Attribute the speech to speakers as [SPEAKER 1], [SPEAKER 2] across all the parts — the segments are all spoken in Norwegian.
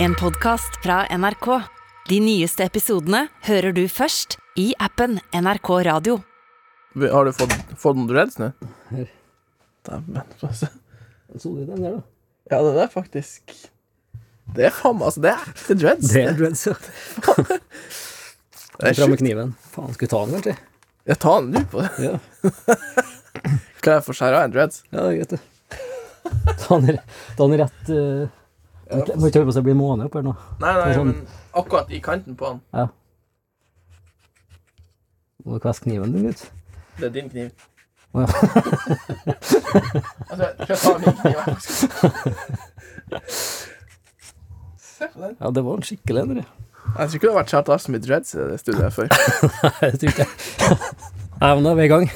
[SPEAKER 1] En podcast fra NRK. De nyeste episodene hører du først i appen NRK Radio.
[SPEAKER 2] Har du fått, fått noen dreads nå?
[SPEAKER 3] Her.
[SPEAKER 2] Dæven, altså.
[SPEAKER 3] Solid den der, da.
[SPEAKER 2] Ja, det der faktisk Det er faen meg altså, Det er ekte dreads.
[SPEAKER 3] Det er dreads, ja.
[SPEAKER 2] Det er
[SPEAKER 3] Fram med
[SPEAKER 2] sjukt.
[SPEAKER 3] kniven. Faen, skulle ta den, kanskje?
[SPEAKER 2] Jeg tar den nå på det.
[SPEAKER 3] Ja,
[SPEAKER 2] Kan jeg få skjære av en dreads?
[SPEAKER 3] ja det er greit, det. Ta den, ta den rett eh, Må ikke- må ikke holde på så det blir måne opp her nå.
[SPEAKER 2] Nei, nei,
[SPEAKER 3] Det er sånn-
[SPEAKER 2] men akkurat i kanten på den.
[SPEAKER 3] Ja. Må du kvesse kniven din, gutt?
[SPEAKER 2] Det er din kniv.
[SPEAKER 3] Å, ja.
[SPEAKER 2] Altså, jeg tar min kniv. jeg skal- Se på den.
[SPEAKER 3] Ja, det var en skikkelig en, det.
[SPEAKER 2] Jeg tror ikke det har vært skjært av så mye dreads i det studioet her før.
[SPEAKER 3] Nei, det tror ikke jeg. Nei, men da er vi i gang.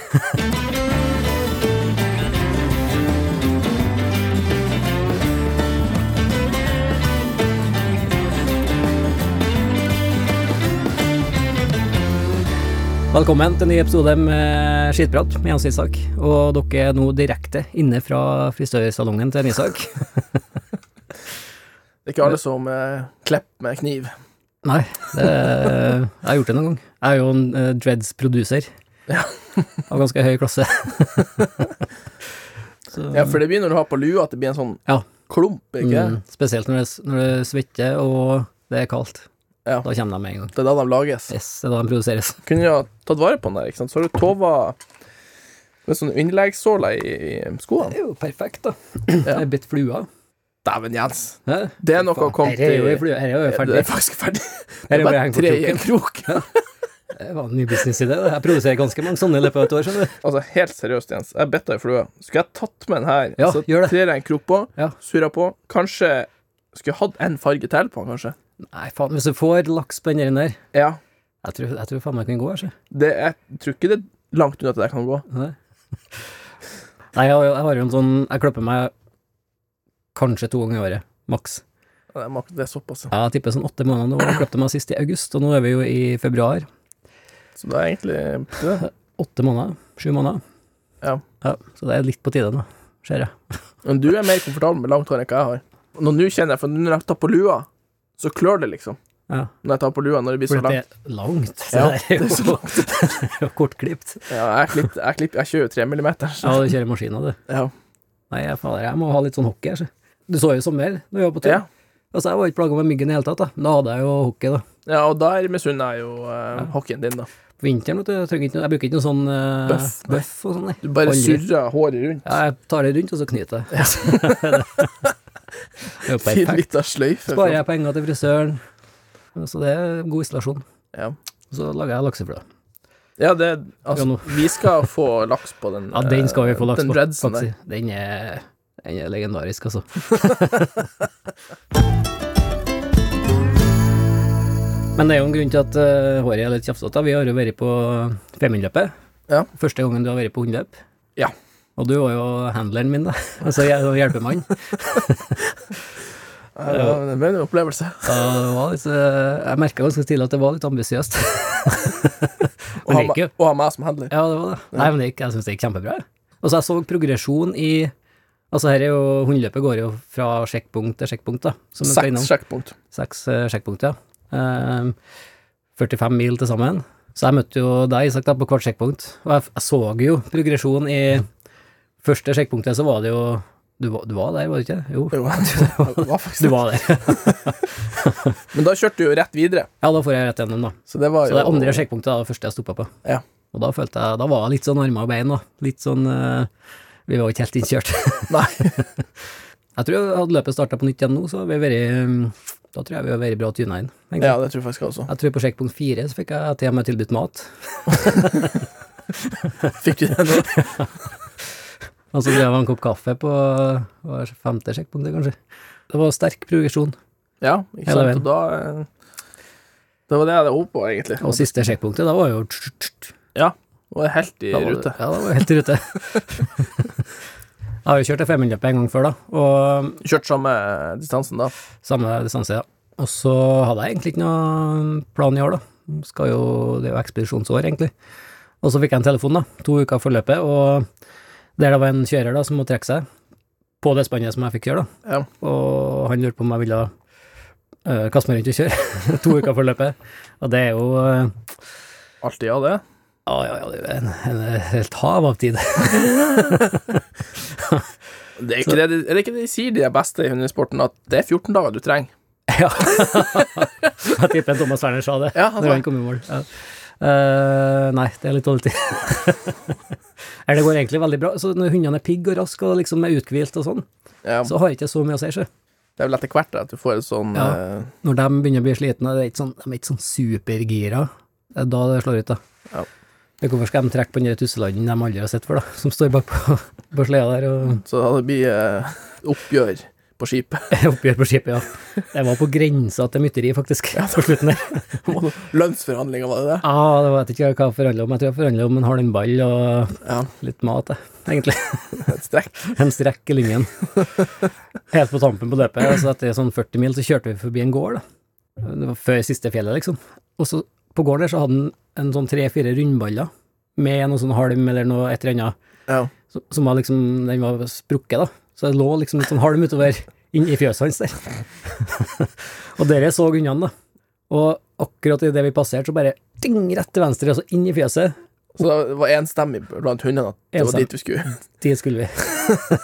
[SPEAKER 3] Velkommen til en ny episode med Skitprat med Jens Isak. Og dere er nå direkte inne fra frisørsalongen til Isak.
[SPEAKER 2] Det er ikke alle som eh, klipper med kniv.
[SPEAKER 3] Nei, det, jeg har gjort det noen gang. Jeg er jo en eh, Dreads-produser.
[SPEAKER 2] Ja.
[SPEAKER 3] Av ganske høy klasse. Så,
[SPEAKER 2] Ja, for det blir når du har på lua, at det blir en sånn
[SPEAKER 3] Ja.
[SPEAKER 2] klump, ikke
[SPEAKER 3] mm, spesielt når det, når det svetter og det er kaldt.
[SPEAKER 2] Ja.
[SPEAKER 3] Da kommer de med en gang.
[SPEAKER 2] Det er da de lages.
[SPEAKER 3] Yes, det er da de produseres.
[SPEAKER 2] kunne jo ha tatt vare på den der, ikke sant? Så har du tova med sånne underleggssåler i, i skoene.
[SPEAKER 3] er jo perfekt, da.
[SPEAKER 2] Ja.
[SPEAKER 3] Jeg bitt flua.
[SPEAKER 2] Dæven, Jens!
[SPEAKER 3] Hæ?
[SPEAKER 2] Det er noe å komme
[SPEAKER 3] Her er jo i
[SPEAKER 2] til.
[SPEAKER 3] flua. Her er jo
[SPEAKER 2] Det
[SPEAKER 3] ferdig.
[SPEAKER 2] er faktisk ferdig.
[SPEAKER 3] Her
[SPEAKER 2] Det
[SPEAKER 3] er
[SPEAKER 2] er
[SPEAKER 3] jo bare
[SPEAKER 2] bare
[SPEAKER 3] hengt på
[SPEAKER 2] tre i en
[SPEAKER 3] kroken.
[SPEAKER 2] krok.
[SPEAKER 3] Det var en ny businessidé. det. Jeg produserer ganske mange sånne i løpet av et år, skjønner du.
[SPEAKER 2] Altså, helt seriøst, Jens. Jeg betta i flua. Skulle jeg tatt med den her,
[SPEAKER 3] Ja,
[SPEAKER 2] så
[SPEAKER 3] gjør det.
[SPEAKER 2] trer jeg en krok på,
[SPEAKER 3] Ja.
[SPEAKER 2] surra på Kanskje skulle jeg hatt en farge til på den, kanskje.
[SPEAKER 3] Nei, faen, hvis du får laks på den der
[SPEAKER 2] Ja.
[SPEAKER 3] Jeg tror, jeg tror faen meg jeg kan gå, altså.
[SPEAKER 2] Det, jeg tror ikke det er langt unna at det der kan gå.
[SPEAKER 3] Nei, Nei jeg, har jo- jeg har jo en sånn Jeg klipper meg kanskje to ganger i året, maks.
[SPEAKER 2] Det er mak- det er såpass. ja.
[SPEAKER 3] Jeg tipper sånn åtte måneder nå. Jeg klippet meg sist i august, og nå er vi jo i februar.
[SPEAKER 2] Så det er egentlig det.
[SPEAKER 3] Åtte måneder. Sju måneder.
[SPEAKER 2] Ja.
[SPEAKER 3] så det er litt på tide nå, ser jeg.
[SPEAKER 2] Men du er mer komfortabel med langt hår enn hva jeg har. Nå nå kjenner jeg, for når jeg tar på lua, så klør det, liksom.
[SPEAKER 3] Ja.
[SPEAKER 2] Når jeg tar på lua når det blir så
[SPEAKER 3] For det
[SPEAKER 2] langt.
[SPEAKER 3] er langt. Så
[SPEAKER 2] Ja,
[SPEAKER 3] det er jo,
[SPEAKER 2] det er så
[SPEAKER 3] jo kortklipt.
[SPEAKER 2] Ja, jeg, klipp, jeg, klipp, jeg kjører jo tre millimeter. Så.
[SPEAKER 3] Ja, du kjører maskina, du.
[SPEAKER 2] Ja.
[SPEAKER 3] Nei, jeg, fader, jeg må ha litt sånn hockey her, så. Du så jo i sommer, når vi var på tur.
[SPEAKER 2] Ja.
[SPEAKER 3] Altså, jeg var ikke plaga med myggen i det hele tatt, da. Men Da hadde jeg jo hockey, da.
[SPEAKER 2] ja, og der misunner jeg jo eh, hockeyen din, da.
[SPEAKER 3] På vinteren, vet du, jeg, trenger ikke, noe- jeg bruker ikke noe sånn eh,
[SPEAKER 2] Bøff, nei.
[SPEAKER 3] bøff og sånn, nei.
[SPEAKER 2] Du bare
[SPEAKER 3] Aldri.
[SPEAKER 2] surrer håret rundt
[SPEAKER 3] Ja, jeg tar det rundt, og så knyter jeg. det er
[SPEAKER 2] i
[SPEAKER 3] jo
[SPEAKER 2] en
[SPEAKER 3] perfekt.
[SPEAKER 2] liten sløyfe.
[SPEAKER 3] Sparer jeg penger til frisøren. Så det er god isolasjon.
[SPEAKER 2] Ja.
[SPEAKER 3] Og så lager jeg lakseflø.
[SPEAKER 2] ja, det Altså,
[SPEAKER 3] Ja, nå.
[SPEAKER 2] vi skal få laks på den.
[SPEAKER 3] Ja, den skal vi få
[SPEAKER 2] eh,
[SPEAKER 3] laks
[SPEAKER 2] Den
[SPEAKER 3] på.
[SPEAKER 2] dreadsen der.
[SPEAKER 3] faktisk. Den er, den er legendarisk, altså. Men det er jo en grunn til at eh, håret er litt tjafsete. da. Vi har jo vært på Femundløpet.
[SPEAKER 2] Ja.
[SPEAKER 3] Første gangen du har vært på hundeløp.
[SPEAKER 2] Ja.
[SPEAKER 3] Og du var jo handleren min, da. Altså jeg var hjelpemann.
[SPEAKER 2] Ja, det var- det ble en opplevelse.
[SPEAKER 3] Så det var litt, eh, jeg merka ganske tidlig at det var litt ambisiøst.
[SPEAKER 2] Å ha
[SPEAKER 3] det gikk
[SPEAKER 2] meg-
[SPEAKER 3] jo.
[SPEAKER 2] å ha meg som handler.
[SPEAKER 3] Ja, det var det. Nei, men det gikk, jeg syns det gikk kjempebra. jeg. Og så jeg så progresjon i Altså, her er jo Hundeløpet går jo fra sjekkpunkt til sjekkpunkt, da. Som vi skal innom.
[SPEAKER 2] Seks sjekkpunkt.
[SPEAKER 3] Seks eh, sjekkpunkter, ja. Ehm, 45 mil til sammen. Så jeg møtte jo deg, Isak, da, på hvert sjekkpunkt. Og jeg, f- jeg så jo progresjon i første sjekkpunktet, så var det jo Du, var- du var der, var du ikke? Jo,
[SPEAKER 2] Jo, det var
[SPEAKER 3] du
[SPEAKER 2] faktisk det.
[SPEAKER 3] var der.
[SPEAKER 2] Men da kjørte du jo rett videre.
[SPEAKER 3] Ja, da får jeg rett gjennom, da.
[SPEAKER 2] Så det var
[SPEAKER 3] Så
[SPEAKER 2] jo
[SPEAKER 3] det andre sjekkpunktet er det første jeg stoppa på.
[SPEAKER 2] Ja.
[SPEAKER 3] Og da følte jeg Da var jeg litt sånn armer og bein, da. Litt sånn eh, Vi var jo ikke helt innkjørt.
[SPEAKER 2] Nei.
[SPEAKER 3] Jeg tror hadde løpet starta på nytt igjen nå, så hadde vi vært mm, Da tror jeg vi hadde vært bra tuna inn. egentlig.
[SPEAKER 2] Ja, det tror jeg faktisk jeg også.
[SPEAKER 3] Jeg tror på sjekkpunkt fire så fikk jeg til og med tilbudt mat.
[SPEAKER 2] Fikk du det nå?
[SPEAKER 3] Og så drev jeg en kopp kaffe på var det femte sjekkpunktet, kanskje. Det var sterk progresjon.
[SPEAKER 2] Ja, ikke
[SPEAKER 3] Hele
[SPEAKER 2] sant.
[SPEAKER 3] veien.
[SPEAKER 2] Og da eh, Det var det jeg hadde håpet på, egentlig.
[SPEAKER 3] Og siste sjekkpunktet, da var jo tsk, tsk, tsk.
[SPEAKER 2] Ja. Og helt i
[SPEAKER 3] Da var det-
[SPEAKER 2] rute.
[SPEAKER 3] Ja, da var jeg helt i rute. jeg har jo kjørt det femhundreløpet en gang før, da, og
[SPEAKER 2] Kjørt samme eh, distansen da.
[SPEAKER 3] samme distanse, ja. Og så hadde jeg egentlig ikke noen plan i år, da. Skal jo, det er jo ekspedisjonsår, egentlig. Og så fikk jeg en telefon, da, to uker før løpet, og der det var en kjører da som måtte trekke seg, på det spannet som jeg fikk kjøre, da.
[SPEAKER 2] Ja.
[SPEAKER 3] og han lurte på om jeg ville eh, kaste meg rundt og kjøre to uker før løpet. Og det er jo eh,
[SPEAKER 2] Alltid av det.
[SPEAKER 3] Ja, ja, ja, det er jo en, en helt hav av tid.
[SPEAKER 2] Det er, ikke det, de- er det ikke det de sier, de er beste i hundesporten, at det er 14 dager du trenger?
[SPEAKER 3] Ja. Jeg tipper Thomas Werner sa det
[SPEAKER 2] Ja, altså. han
[SPEAKER 3] når
[SPEAKER 2] sa
[SPEAKER 3] han kom i mål. Ja. Eh, nei, det er litt dårlig tid. Eller det går egentlig veldig bra. Så når hundene er pigg og raske og liksom er uthvilt og sånn,
[SPEAKER 2] Ja,
[SPEAKER 3] så har ikke det så mye å si, sjø.
[SPEAKER 2] det er vel etter hvert at du får et sånn
[SPEAKER 3] Ja.
[SPEAKER 2] eh,
[SPEAKER 3] Når de begynner å bli slitne, det er ikke sånn, de er ikke sånn supergira. Det er da det slår ut, da.
[SPEAKER 2] Ja.
[SPEAKER 3] Det er Hvorfor skal de trekke på den der tusselanden de aldri har sett før, da, som står bak på, på sleda der og
[SPEAKER 2] Så det blir eh, oppgjør på skipet.
[SPEAKER 3] oppgjør på skipet, ja. Det var på grensa til mytteri, faktisk, på slutten der.
[SPEAKER 2] Lønnsforhandlinger, var det det?
[SPEAKER 3] Ja, det var, jeg vet ikke hva jeg forhandla om. Jeg tror jeg forhandla om en halmball og
[SPEAKER 2] Ja,
[SPEAKER 3] litt mat, jeg, egentlig.
[SPEAKER 2] et strekk.
[SPEAKER 3] En strekk i lyngen. Helt på tampen på løpet. Og så etter sånn 40 mil så kjørte vi forbi en gård, da. Det var før siste fjellet, liksom. Og så på gården der så hadde han en sånn tre-fire rundballer med noe sånn halm eller noe et eller annet,
[SPEAKER 2] Ja.
[SPEAKER 3] som- som var liksom Den var sprukket, da. Så det lå liksom litt sånn halm utover inn i fjøset hans der. og dere så hundene, da. Og akkurat idet vi passerte, så bare ding, rett til venstre, og så inn i fjøset.
[SPEAKER 2] Så det var enstemmig blant hundene at det var
[SPEAKER 3] Enstemmig.
[SPEAKER 2] dit du skulle.
[SPEAKER 3] Dit skulle vi.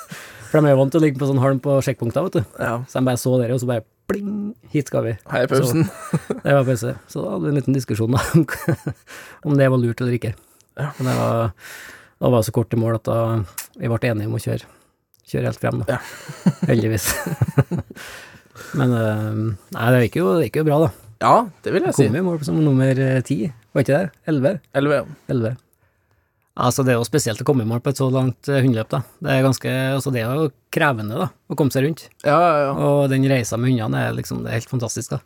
[SPEAKER 3] For de er jo vant til å ligge på sånn halm på sjekkpunkter, vet du.
[SPEAKER 2] Ja.
[SPEAKER 3] Så de bare så dere, og så bare pling, hit skal vi.
[SPEAKER 2] Her er pausen.
[SPEAKER 3] Det var pause. Så da hadde vi en liten diskusjon da, om hva- om det var lurt eller ikke.
[SPEAKER 2] Ja.
[SPEAKER 3] Men det var, da var det så kort til mål at da vi ble enige om å kjøre, kjøre helt frem, da. Heldigvis. Men eh, nei, det gikk, jo, det gikk jo bra, da.
[SPEAKER 2] Ja, det vil jeg si.
[SPEAKER 3] Kom i mål som nummer eh, ti, var ikke det? Elleve?
[SPEAKER 2] 11.
[SPEAKER 3] Elleve. Altså, det er jo spesielt å komme i mål på et så langt eh, hundeløp, da. Det er, ganske, altså, det er jo krevende, da, å komme seg rundt.
[SPEAKER 2] Ja, ja, ja.
[SPEAKER 3] Og den reisa med hundene er liksom det er helt fantastisk, da.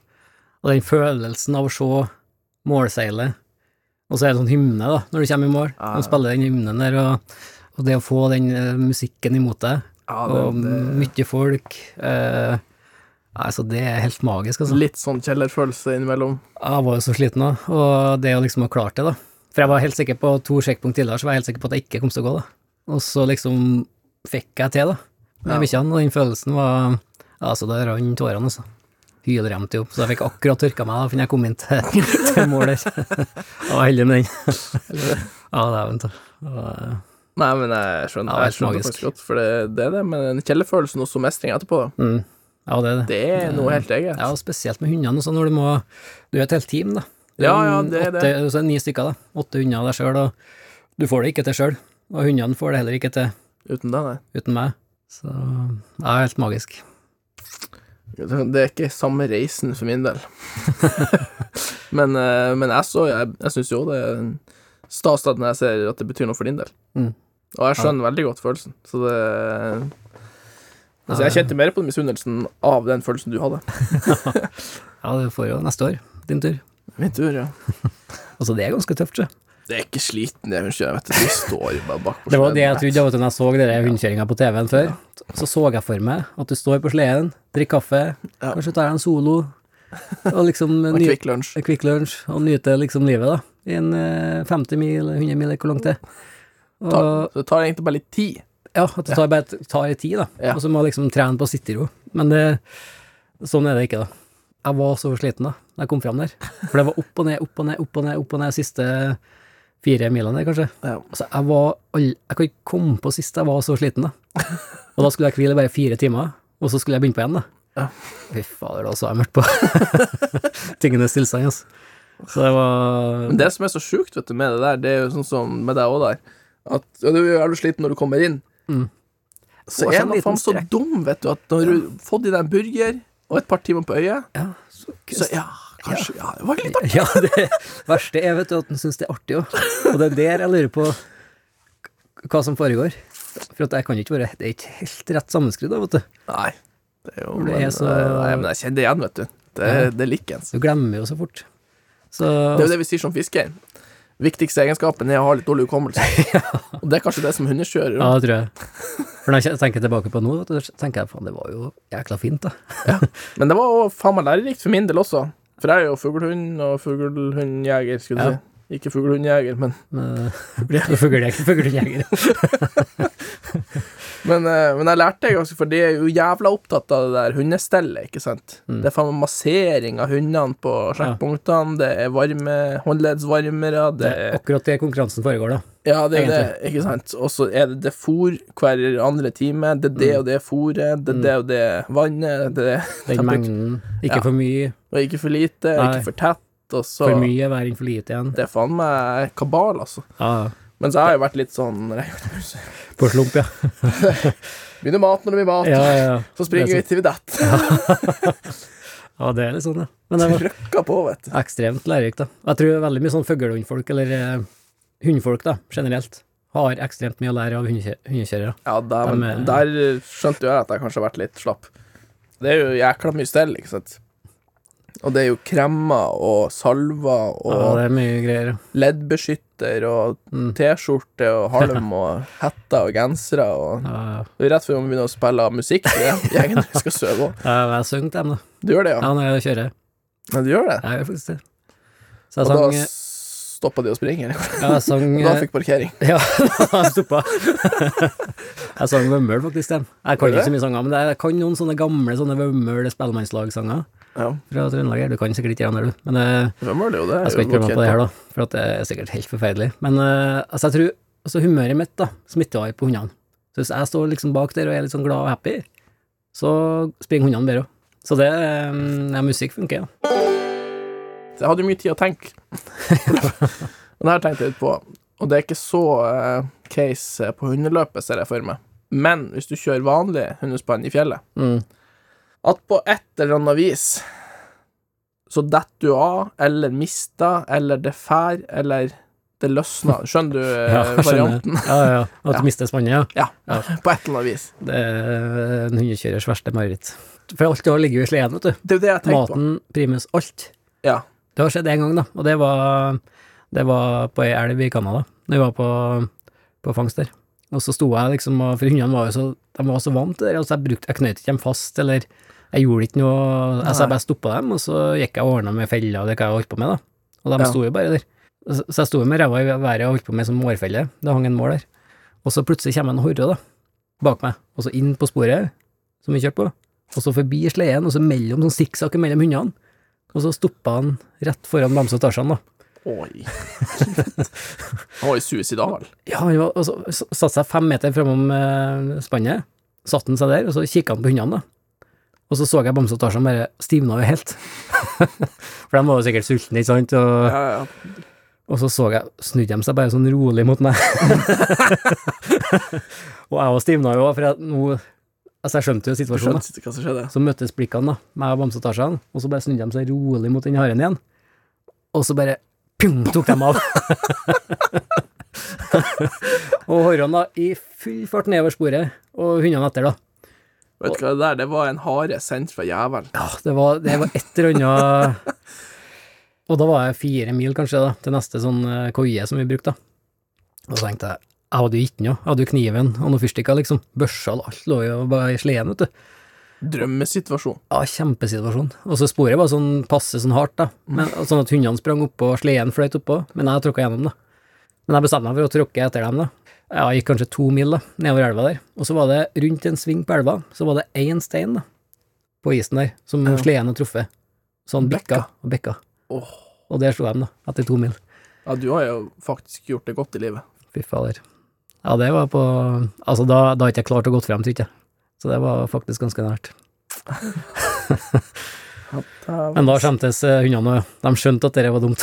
[SPEAKER 3] Og den følelsen av å se målseilet, og så er det sånn hymne, da, når du kommer i mål.
[SPEAKER 2] Ja, ja.
[SPEAKER 3] De spiller den hymnen der, og, og det å få den eh, musikken imot deg,
[SPEAKER 2] ja
[SPEAKER 3] og
[SPEAKER 2] det,
[SPEAKER 3] mye folk eh, Altså, det er helt magisk, altså.
[SPEAKER 2] det, litt sånn kjellerfølelse innimellom.
[SPEAKER 3] Jeg var jo så sliten òg, og det å liksom ha klart det, da. For jeg var helt sikker på to sjekkpunkt tidligere, så var jeg helt sikker på at jeg ikke kom til å gå, da. Og så liksom fikk jeg til, da. Med
[SPEAKER 2] Ja.
[SPEAKER 3] bikkjene, og den følelsen var Altså, det rant tårene, altså. Hylremte jo opp, så jeg fikk akkurat tørka meg da, før jeg kom inn til, til mål der. Jeg var heldig med den. Ja, dæven ta. Det var-
[SPEAKER 2] Nei, men jeg skjønner, jeg
[SPEAKER 3] Ja, det er
[SPEAKER 2] skjønner det
[SPEAKER 3] magisk.
[SPEAKER 2] faktisk godt, for det, det er det. Men den kjellerfølelsen og så mestring etterpå, da.
[SPEAKER 3] Mm. Ja, det er det.
[SPEAKER 2] det er noe helt eget.
[SPEAKER 3] Ja, og spesielt med hundene, og sånn når du må Du er et helt team, da. Du
[SPEAKER 2] Ja,
[SPEAKER 3] er
[SPEAKER 2] ja,
[SPEAKER 3] en
[SPEAKER 2] det er
[SPEAKER 3] åtte,
[SPEAKER 2] det.
[SPEAKER 3] Så er det ni stykker, da. Åtte hunder av deg sjøl, og du får det ikke til sjøl. Og hundene får det heller ikke til
[SPEAKER 2] Uten det, nei.
[SPEAKER 3] uten meg. Så det er helt magisk.
[SPEAKER 2] Det er ikke samme reisen for min del. men, eh, men jeg, så- jeg, jeg syns jo det er stas at når jeg ser at det betyr noe for din del.
[SPEAKER 3] Mm.
[SPEAKER 2] Og jeg skjønner veldig godt følelsen, så det Altså, jeg kjente mer på den misunnelsen av den følelsen du hadde.
[SPEAKER 3] Ja, du får jo neste år. Din tur.
[SPEAKER 2] Min tur, ja.
[SPEAKER 3] Altså, det er ganske tøft, sjø.
[SPEAKER 2] Det er ikke sliten, det hundekjøret, vet du. De står jo bare bak på
[SPEAKER 3] Det var det jeg
[SPEAKER 2] sleden.
[SPEAKER 3] trodde av og til når jeg så dere hundekjøringa på TV-en før. Så så jeg for meg at du står på sleden, drikker kaffe,
[SPEAKER 2] Ja.
[SPEAKER 3] kanskje tar deg en solo, og liksom
[SPEAKER 2] Og
[SPEAKER 3] ny-
[SPEAKER 2] Kvikk Lunsj.
[SPEAKER 3] Quick Lunch og nyte liksom livet, da. I en eh, 50 mil, 100 mil, hvor langt det er. Og,
[SPEAKER 2] Ta- Så det tar egentlig bare litt tid.
[SPEAKER 3] ja, at det tar bare et- tar litt tid, da.
[SPEAKER 2] Ja.
[SPEAKER 3] Og så må jeg liksom trene på å sitte i ro. Men det, sånn er det ikke, da. Jeg var så sliten da da jeg kom fram der. For det var opp og ned, opp og ned, opp og ned, opp og ned siste fire milene der, kanskje.
[SPEAKER 2] Ja.
[SPEAKER 3] Altså, jeg var all, Jeg kan ikke komme på sist jeg var så sliten, da. Og da skulle jeg hvile i bare fire timer, og så skulle jeg begynne på igjen, da.
[SPEAKER 2] Ja.
[SPEAKER 3] Fy fader, da så jeg mørkt på tingenes tilstand, altså. Så det var
[SPEAKER 2] Men det som er så sjukt vet du, med det der, det er jo sånn som med deg òg der, at ja, du er jo sliten når du kommer inn.
[SPEAKER 3] Mm.
[SPEAKER 2] Så
[SPEAKER 3] Og så
[SPEAKER 2] er man
[SPEAKER 3] en sånn liten
[SPEAKER 2] faen så
[SPEAKER 3] strekk.
[SPEAKER 2] dum, vet du, at når du har fått i deg en burger og et par timer på øyet,
[SPEAKER 3] Ja, så
[SPEAKER 2] så ja, kanskje Ja, det var litt artig.
[SPEAKER 3] Ja, det verste er vet du, at han syns det er artig òg. Og det er der jeg lurer på k- hva som foregår. For at jeg kan jo ikke være Det er ikke helt rett sammenskrudd, da, vet du.
[SPEAKER 2] Nei, det er jo
[SPEAKER 3] Det er
[SPEAKER 2] men,
[SPEAKER 3] så-
[SPEAKER 2] eh, Nei, men jeg kjenner det igjen, vet du. Det,
[SPEAKER 3] Ja.
[SPEAKER 2] det er likens.
[SPEAKER 3] Du glemmer jo så fort. Så
[SPEAKER 2] Det er jo det vi sier som fisker. Viktigste egenskapen er å ha litt dårlig hukommelse. Og det er kanskje det som hundekjører
[SPEAKER 3] Ja,
[SPEAKER 2] òg.
[SPEAKER 3] det tror jeg. altså, For når jeg tenker tilbake på nå, vet du, så tenker jeg faen, det var jo jækla fint, da.
[SPEAKER 2] Men det var også faen meg lærerikt for min del også. For jeg er jo fuglehund og fuglehundjeger, skulle du
[SPEAKER 3] Ja.
[SPEAKER 2] si. Ikke fuglehundjeger, men
[SPEAKER 3] Med- Fuglejeger. Fuglehundjeger.
[SPEAKER 2] Men, eh, men jeg lærte det, altså, for de er jo jævla opptatt av det der hundestellet, ikke sant.
[SPEAKER 3] Mm.
[SPEAKER 2] Det er faen meg massering av hundene på sjekkpunktene, det er varme, håndleddsvarmere, det
[SPEAKER 3] Det er
[SPEAKER 2] er
[SPEAKER 3] akkurat det konkurransen foregår, da.
[SPEAKER 2] Ja, det er det, ikke sant. Og så er det det fôr hver andre time, det er
[SPEAKER 3] Mm.
[SPEAKER 2] det og det fôret, det er det og det vannet, det er
[SPEAKER 3] Den mengden. Ikke
[SPEAKER 2] Ja.
[SPEAKER 3] for mye,
[SPEAKER 2] Og ikke for lite,
[SPEAKER 3] Nei.
[SPEAKER 2] ikke for tett, og så
[SPEAKER 3] for mye hver inn for lite igjen.
[SPEAKER 2] Det er faen meg kabal, altså.
[SPEAKER 3] Ja,
[SPEAKER 2] Men så har jeg jo vært litt sånn når jeg-
[SPEAKER 3] på slump, ja.
[SPEAKER 2] Begynner mat når det blir mat,
[SPEAKER 3] Ja, ja, ja.
[SPEAKER 2] så springer
[SPEAKER 3] Det
[SPEAKER 2] vi
[SPEAKER 3] er
[SPEAKER 2] til vi detter.
[SPEAKER 3] ja det er litt sånn, ja. Men det var
[SPEAKER 2] Trykka på, vet du.
[SPEAKER 3] ekstremt lærerikt, da. Jeg tror veldig mye sånn fuglehundfolk, eller eh, hundfolk, da, generelt, har ekstremt mye å lære av hundekjø- hundekjørere.
[SPEAKER 2] Ja, der,
[SPEAKER 3] De er-
[SPEAKER 2] der skjønte jo jeg at jeg kanskje har vært litt slapp. Det er jo jækla mye stell, ikke sant. Og det er jo kremmer og salver
[SPEAKER 3] Ja,
[SPEAKER 2] og
[SPEAKER 3] det er mye greier. ja.
[SPEAKER 2] leddbeskytter og
[SPEAKER 3] Mm.
[SPEAKER 2] T-skjorte og halm og hetter og gensere og
[SPEAKER 3] Ja, ja.
[SPEAKER 2] Det er rett før vi begynner å spille musikk til det gjengen når vi skal sove òg.
[SPEAKER 3] Ja, Jeg synger til dem, da.
[SPEAKER 2] Du gjør det, ja?
[SPEAKER 3] Ja, når jeg kjører.
[SPEAKER 2] Ja, du gjør det?
[SPEAKER 3] Jeg gjør faktisk det. sånn- Så jeg
[SPEAKER 2] Og da
[SPEAKER 3] sang,
[SPEAKER 2] stoppa de å springe, eller?
[SPEAKER 3] jeg sang
[SPEAKER 2] Og da fikk parkering.
[SPEAKER 3] Ja, jeg stoppa. Jeg sang Vømmøl, faktisk. Dem. Jeg kan
[SPEAKER 2] Gjør du
[SPEAKER 3] ikke så mye sanger, men jeg kan noen sånne gamle sånne Vømmøl spellemannslagsanger
[SPEAKER 2] Ja,
[SPEAKER 3] fra Trøndelag. her. Du kan sikkert ikke dem, der, du. Men eh,
[SPEAKER 2] hvem var det jo? Det
[SPEAKER 3] jeg
[SPEAKER 2] er
[SPEAKER 3] skal
[SPEAKER 2] jo
[SPEAKER 3] ikke prøve meg på det
[SPEAKER 2] her,
[SPEAKER 3] her, da, for at det er sikkert helt forferdelig. Men eh, altså, jeg tror altså, humøret mitt da, smitter av på hundene. Så hvis jeg står liksom bak der og er litt sånn glad og happy, så springer hundene bedre òg. Så det eh, ja, Musikk funker, ja.
[SPEAKER 2] Jeg hadde jo mye tid å tenke. Men det her tenkte jeg litt på, og det er ikke så eh, case på hundeløpet, ser jeg for meg. Men hvis du kjører vanlig hundespann i fjellet,
[SPEAKER 3] Mm.
[SPEAKER 2] at på et eller annet vis så detter du av, eller mister, eller det fær, eller det løsner. Skjønner du eh,
[SPEAKER 3] Ja, jeg skjønner.
[SPEAKER 2] varianten?
[SPEAKER 3] Ja, ja, ja. At du
[SPEAKER 2] Ja.
[SPEAKER 3] mister spannet, ja.
[SPEAKER 2] Ja,
[SPEAKER 3] Ja.
[SPEAKER 2] på et eller annet vis.
[SPEAKER 3] Det er en hundekjørers verste mareritt. For alt det har ligger jo i sleden, vet du.
[SPEAKER 2] Det er jo det jeg tenker på.
[SPEAKER 3] Maten, primus, alt.
[SPEAKER 2] Ja.
[SPEAKER 3] Det har skjedd én gang, da, og det var, det var på ei elv i Canada. Da vi var på, på fangst der. Og så sto jeg liksom og For hundene var jo så De var så vant til det. der, Altså jeg, brukte, jeg knøt ikke dem fast, eller jeg gjorde ikke noe
[SPEAKER 2] Nei.
[SPEAKER 3] altså Jeg bare stoppa dem, og så gikk jeg og ordna med feller og det hva jeg holdt på med, da. Og de
[SPEAKER 2] Ja.
[SPEAKER 3] sto jo bare der. Så så jeg sto jo med ræva i været og holdt på med som mårfelle. Det hang en mål der. Og så plutselig kommer en horre, da, bak meg, og så inn på sporet som vi kjørte på, og så forbi sleden, og så mellom sånn sikksakk mellom hundene. Og så stoppa han rett foran Bamse og Tarzan, da.
[SPEAKER 2] Oi. Han var jo suicidal.
[SPEAKER 3] Ja, han var, og så så satte seg fem meter framom eh, spannet, satte han seg der, og så kikka han på hundene, da. Og så så jeg Bamse og Tarzan bare stivna jo helt. For de var jo sikkert sultne, ikke sant? Og,
[SPEAKER 2] Ja, ja.
[SPEAKER 3] og så så jeg, snudde de seg bare sånn rolig mot meg. og jeg var stivna jo, for jeg, nå, altså jeg skjønte jo
[SPEAKER 2] Du
[SPEAKER 3] situasjonen. da.
[SPEAKER 2] skjønte ikke hva som skjedde?
[SPEAKER 3] Så møttes blikkene, da, meg og Bamse og Tarzan, og så bare snudde de seg rolig mot den haren igjen, og så bare pjong, tok de av. og haren, da, i full fart nedover sporet, og hundene etter, da.
[SPEAKER 2] Vet du hva det der, det var en hare sendt fra jævelen.
[SPEAKER 3] Ja, det var, det var et eller annet Og da var jeg fire mil, kanskje, da, til neste sånn eh, koie som vi brukte, da. Og så tenkte jeg, jeg hadde jo ikke noe, jeg hadde jo kniven og noen fyrstikker, liksom. Børsa og alt lå jo bare i sleden, vet du.
[SPEAKER 2] Drømmesituasjon.
[SPEAKER 3] Ja, kjempesituasjon. Og så sporet var sånn passe sånn hardt, da. Men, og sånn at hundene sprang oppå, og sleden fløyt oppå, men jeg tråkka gjennom, da. Men jeg bestemte meg for å tråkke etter dem, da. Ja, jeg gikk kanskje to mil da, nedover elva der. Og så var det rundt en sving på elva, så var det én stein da, på isen der, som
[SPEAKER 2] Ja.
[SPEAKER 3] sleden hadde truffet. Så han bikka
[SPEAKER 2] Bekka.
[SPEAKER 3] og bikka.
[SPEAKER 2] Åh.
[SPEAKER 3] Og der slo de, da, etter to mil.
[SPEAKER 2] Ja, du har jo faktisk gjort det godt i livet.
[SPEAKER 3] Fy fader. Ja, det var på Altså, da, da hadde jeg ikke klart å gå frem, tror jeg. Så det var faktisk ganske nært. Men da skjemtes eh, hundene òg. De skjønte at det var dumt.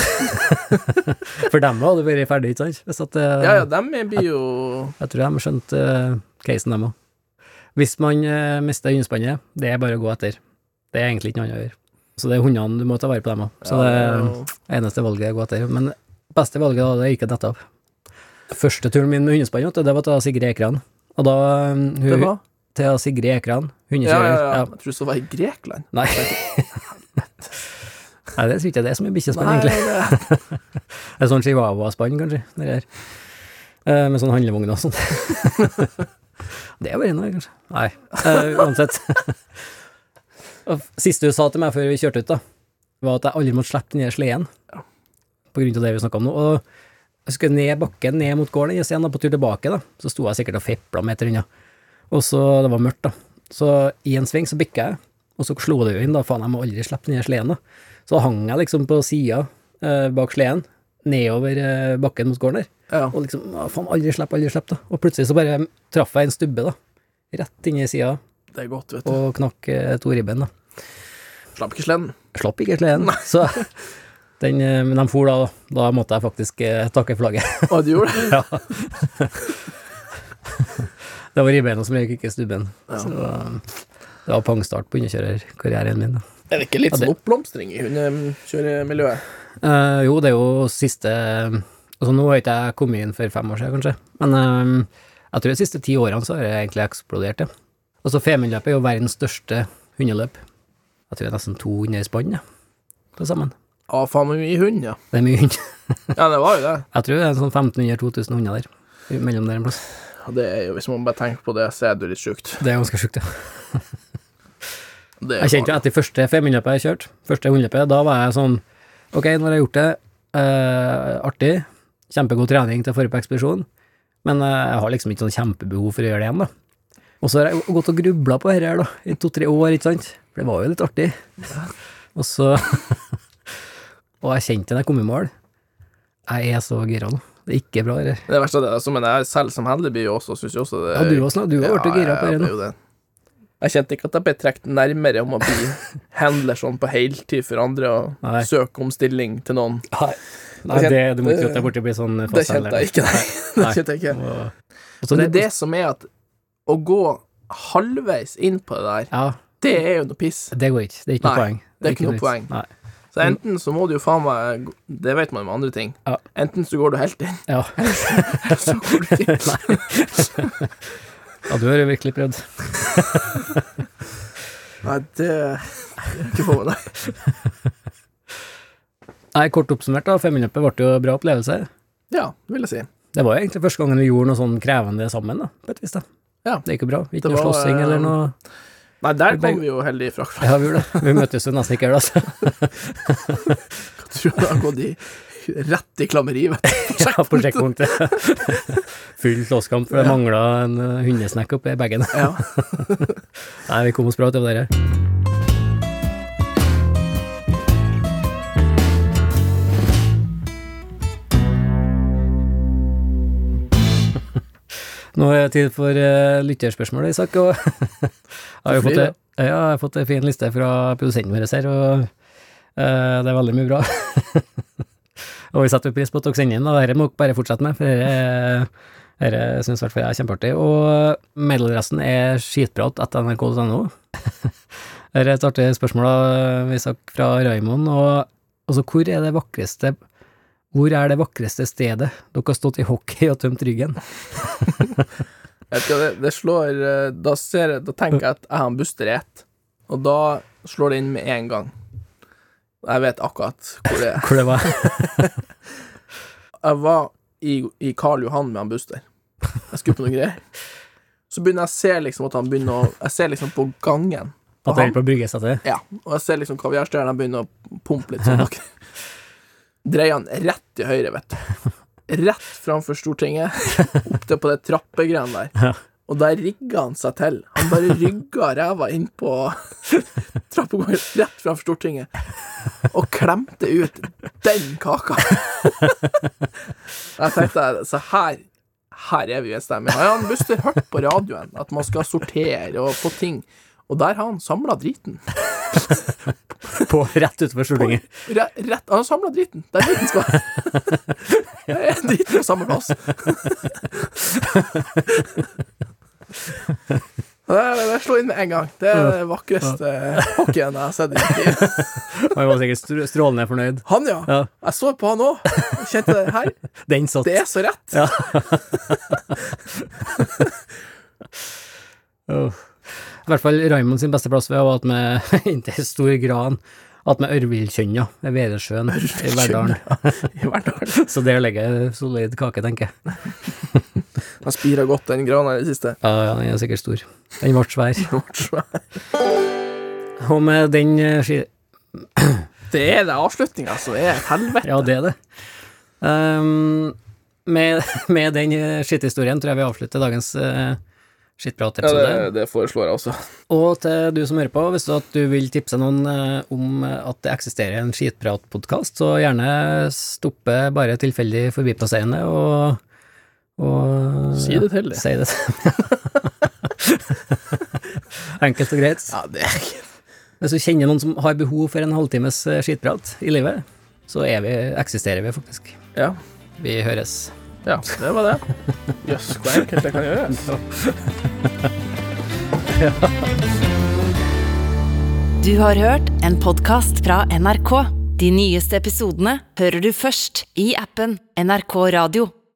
[SPEAKER 3] For dem hadde det vært ferdig, ikke sant? Hvis at, eh,
[SPEAKER 2] Ja, ja, dem blir jo
[SPEAKER 3] Jeg tror de skjønte eh, casen, dem òg. Hvis man eh, mister hundespannet, det er bare å gå etter. Det er egentlig ikke noe annet å gjøre. Så det er hundene du må ta vare på, dem òg. Så det
[SPEAKER 2] Ja,
[SPEAKER 3] er eneste valget er å gå etter. Men beste valget da, det er ikke å dette av. Første turen min med hundespann, vet du, det var til Sigrid Ekran. Og da eh,
[SPEAKER 2] Det
[SPEAKER 3] hun,
[SPEAKER 2] var
[SPEAKER 3] Til Sigrid
[SPEAKER 2] Ja,
[SPEAKER 3] Ekran,
[SPEAKER 2] ja,
[SPEAKER 3] hundekjører.
[SPEAKER 2] ja.
[SPEAKER 3] Ja.
[SPEAKER 2] Jeg tror det var i Grekland.
[SPEAKER 3] Nei. Nei, det tror ikke jeg det er så mye bikkjespann, egentlig.
[SPEAKER 2] det-
[SPEAKER 3] Det er sånn chihuahua-spann, kanskje, det der. Eh, med sånn handlevogn og sånn. det er bare noe, kanskje. Nei, eh, uansett. Og f- Siste du sa til meg før vi kjørte ut, da, var at jeg aldri måtte slippe den der sleden. På grunn av det vi snakka om nå. Og jeg skulle ned bakken, ned mot gården, og så igjen da, på tur tilbake, da, så sto jeg sikkert og fepla meter unna. Og så Det var mørkt, da. Så i en sving så bikka jeg, og så slo det jo inn, da. Faen, jeg må aldri slippe den her sleden, da. Så hang jeg liksom på sida eh, bak sleden, nedover eh, bakken mot gården der.
[SPEAKER 2] Ja.
[SPEAKER 3] Og liksom «Å, Faen, aldri slipp, aldri slipp, da. Og plutselig så bare traff jeg en stubbe, da. Rett inni sida,
[SPEAKER 2] Det er godt, vet du.
[SPEAKER 3] og knakk eh, to ribben, da.
[SPEAKER 2] Slapp ikke sleden.
[SPEAKER 3] Jeg slapp ikke sleden. Så den, eh, men de for da, da. Da måtte jeg faktisk eh, takke flagget.
[SPEAKER 2] Å, du gjorde det?
[SPEAKER 3] Ja. det var ribbeina som røyk, ikke stubben.
[SPEAKER 2] Ja.
[SPEAKER 3] Så det var pangstart på underkjørerkarrieren min. Da.
[SPEAKER 2] Er det ikke litt
[SPEAKER 3] Ja, det-
[SPEAKER 2] sånn oppblomstring i eh, hundekjøremiljøet?
[SPEAKER 3] Eh, jo, det er jo siste Altså, nå har ikke jeg kommet inn for fem år siden, kanskje, men eh, jeg tror de siste ti årene så har det egentlig eksplodert, det. Altså, Femundløpet er jo verdens største hundeløp. Jeg tror det er nesten 200 spann, ja, til sammen.
[SPEAKER 2] Ja, faen meg mye hund, ja.
[SPEAKER 3] Det er mye hund.
[SPEAKER 2] Ja, det var jo det.
[SPEAKER 3] Jeg tror det er sånn 1500-2000 hunder der, mellom der en plass.
[SPEAKER 2] Ja, Det er jo, Hvis man bare tenker på det, så er det jo litt sjukt.
[SPEAKER 3] Det er ganske sjukt, ja.
[SPEAKER 2] Det er
[SPEAKER 3] Jeg kjente jo etter første femhundreløpet jeg kjørte, første hundeløpet, da var jeg sånn Ok, nå har jeg gjort det. eh, artig. Kjempegod trening til forrige på ekspedisjon. Men eh, jeg har liksom ikke sånn kjempebehov for å gjøre det igjen, da. Og så har jeg gått og grubla på dette her, da, i to-tre år, ikke sant. For det var jo litt artig. Og så Og jeg kjente det da jeg kom i mål. Jeg er så gira nå. Det er ikke bra, det her.
[SPEAKER 2] Det verste av det, altså, men jeg selv som handler blir jo også, synes jo også det
[SPEAKER 3] Ja, du også, nå. du har blitt gira på
[SPEAKER 2] jeg
[SPEAKER 3] dette nå.
[SPEAKER 2] ble jo det. Jeg kjente ikke at jeg ble trukket nærmere om å bli handler sånn på heltid for andre og
[SPEAKER 3] Nei.
[SPEAKER 2] søke om stilling til noen.
[SPEAKER 3] Nei, Nei
[SPEAKER 2] Jeg
[SPEAKER 3] det,
[SPEAKER 2] kjente-
[SPEAKER 3] du må ikke tro at jeg borti blir sånn
[SPEAKER 2] Det kjente jeg ikke, nei. Det
[SPEAKER 3] Nei.
[SPEAKER 2] kjente jeg ikke.
[SPEAKER 3] Og, og så
[SPEAKER 2] Men det
[SPEAKER 3] det,
[SPEAKER 2] er det som er at å gå halvveis inn på det der,
[SPEAKER 3] Ja,
[SPEAKER 2] det er jo noe piss.
[SPEAKER 3] det går ikke. Det er ikke noe
[SPEAKER 2] Nei,
[SPEAKER 3] poeng.
[SPEAKER 2] det er ikke noe
[SPEAKER 3] vits.
[SPEAKER 2] poeng.
[SPEAKER 3] Nei.
[SPEAKER 2] Så enten så må du jo faen meg Det vet man med andre ting.
[SPEAKER 3] Mm. Ja.
[SPEAKER 2] Enten så går du helt inn,
[SPEAKER 3] Ja.
[SPEAKER 2] eller så går du ikke inn.
[SPEAKER 3] ja, du har jo virkelig prøvd.
[SPEAKER 2] Nei, det Ikke få med deg.
[SPEAKER 3] Nei, kort oppsummert, da. Femminuppet ble jo en bra opplevelse.
[SPEAKER 2] Ja, det vil jeg si.
[SPEAKER 3] Det var jo egentlig første gangen vi gjorde noe sånn krevende sammen, da, på et vis. da.
[SPEAKER 2] Ja.
[SPEAKER 3] Det gikk jo bra.
[SPEAKER 2] Det
[SPEAKER 3] Ikke
[SPEAKER 2] var, eh,
[SPEAKER 3] noe slåssing eller noe.
[SPEAKER 2] Nei, der
[SPEAKER 3] Begge-
[SPEAKER 2] kom vi jo heldig fra hverandre.
[SPEAKER 3] Ja, vi gjorde det. Vi møttes jo nesten ikke her, da.
[SPEAKER 2] Tror jeg har gått i rett i klammeri, vet du.
[SPEAKER 3] Så ja, på sjekkpunktet. Full slåsskamp, for det mangla en eh, hundesnekk oppi bagen.
[SPEAKER 2] Ja.
[SPEAKER 3] Nei, vi kom oss bra utover det her. Nå er det tid for eh, lytterspørsmål, Isak. Og jeg har jo
[SPEAKER 2] Det
[SPEAKER 3] fått,
[SPEAKER 2] flyr,
[SPEAKER 3] ja, jeg har fått en fin liste fra produsenten vår her, og eh, det er veldig mye bra. og vi setter pris på at dere sender inn, og dette må dere bare fortsette med, for dette, dette syns i hvert fall jeg er kjempeartig. Og meddelresten er skitprat etter nrk.no. Her er et artig spørsmål da, Isak, fra Raimond. Og, altså, hvor er det vakreste Hvor er det vakreste stedet dere har stått i hockey og tømt ryggen?
[SPEAKER 2] Vet du, det, det slår eh, da, ser, jeg- da tenker jeg at jeg har en Buster i ett, og da slår det inn med en gang. Jeg vet akkurat hvor det er.
[SPEAKER 3] Hvor det var
[SPEAKER 2] Jeg var i, i Karl Johan med han Buster. Jeg skulle på noen greier. Så begynner jeg å se liksom at han begynner å Jeg ser liksom på gangen.
[SPEAKER 3] At det er på bryggesettet?
[SPEAKER 2] Ja, og jeg ser liksom kaviarstjerna begynner å pumpe litt sånn. ok. Dreier han rett til høyre, vet du. Rett framfor Stortinget, opp til på det trappegreiene
[SPEAKER 3] Ja.
[SPEAKER 2] der. Og der rigga han seg til. Han bare rygga ræva inn på trappegangen rett framfor Stortinget og klemte ut den kaka. Jeg tenkte så her her er vi uenstemmige. Har han Buster hørt på radioen at man skal sortere og få ting? Og der har han samla driten.
[SPEAKER 3] På rett utenfor Stortinget.
[SPEAKER 2] Re- Rett, han har samla driten. Der driten skal være. Det er driten på samme plass. Det, det slår inn med en gang. Det er den vakreste hockeyen jeg har sett i mitt liv.
[SPEAKER 3] Og jeg var sikkert str- strålende fornøyd.
[SPEAKER 2] Han, ja.
[SPEAKER 3] Ja,
[SPEAKER 2] Jeg så på han òg. Kjente det her.
[SPEAKER 3] den satt.
[SPEAKER 2] Det er så rett.
[SPEAKER 3] Åh. I hvert fall Raimond sin beste plass ved var at med inntil stor gran at med Ørvilkjønna ved Vedesjøen i Verdalen.
[SPEAKER 2] I hverdagen.
[SPEAKER 3] Så der ligger en solid kake, tenker jeg.
[SPEAKER 2] Han spira godt, den grana i det siste.
[SPEAKER 3] Ja, ja, den er sikkert stor. Den ble svær.
[SPEAKER 2] Det
[SPEAKER 3] Og med den eh, ski...
[SPEAKER 2] er den avslutninga som er et helvete.
[SPEAKER 3] Ja, det er det. Ehm, med, med den eh, skitthistorien tror jeg vi avslutter dagens eh, Skittbra
[SPEAKER 2] Ja,
[SPEAKER 3] tips.
[SPEAKER 2] det,
[SPEAKER 3] det.
[SPEAKER 2] det foreslår jeg også.
[SPEAKER 3] Og til du som hører på, hvis du, at du vil tipse noen eh, om at det eksisterer en skitpratpodkast, så gjerne stoppe bare tilfeldig forbipasserende og, og
[SPEAKER 2] Si det til dem.
[SPEAKER 3] Si det. Enkelt og greit.
[SPEAKER 2] Ja, det er ikke
[SPEAKER 3] Hvis du kjenner noen som har behov for en halvtimes eh, skitprat i livet, så er vi, eksisterer vi faktisk.
[SPEAKER 2] Ja.
[SPEAKER 3] Vi høres.
[SPEAKER 2] Ja, det var det. Jøss, hvor enkelt det kan gjøres.
[SPEAKER 1] Du har hørt en podkast fra NRK. De nyeste episodene hører du først i appen NRK Radio.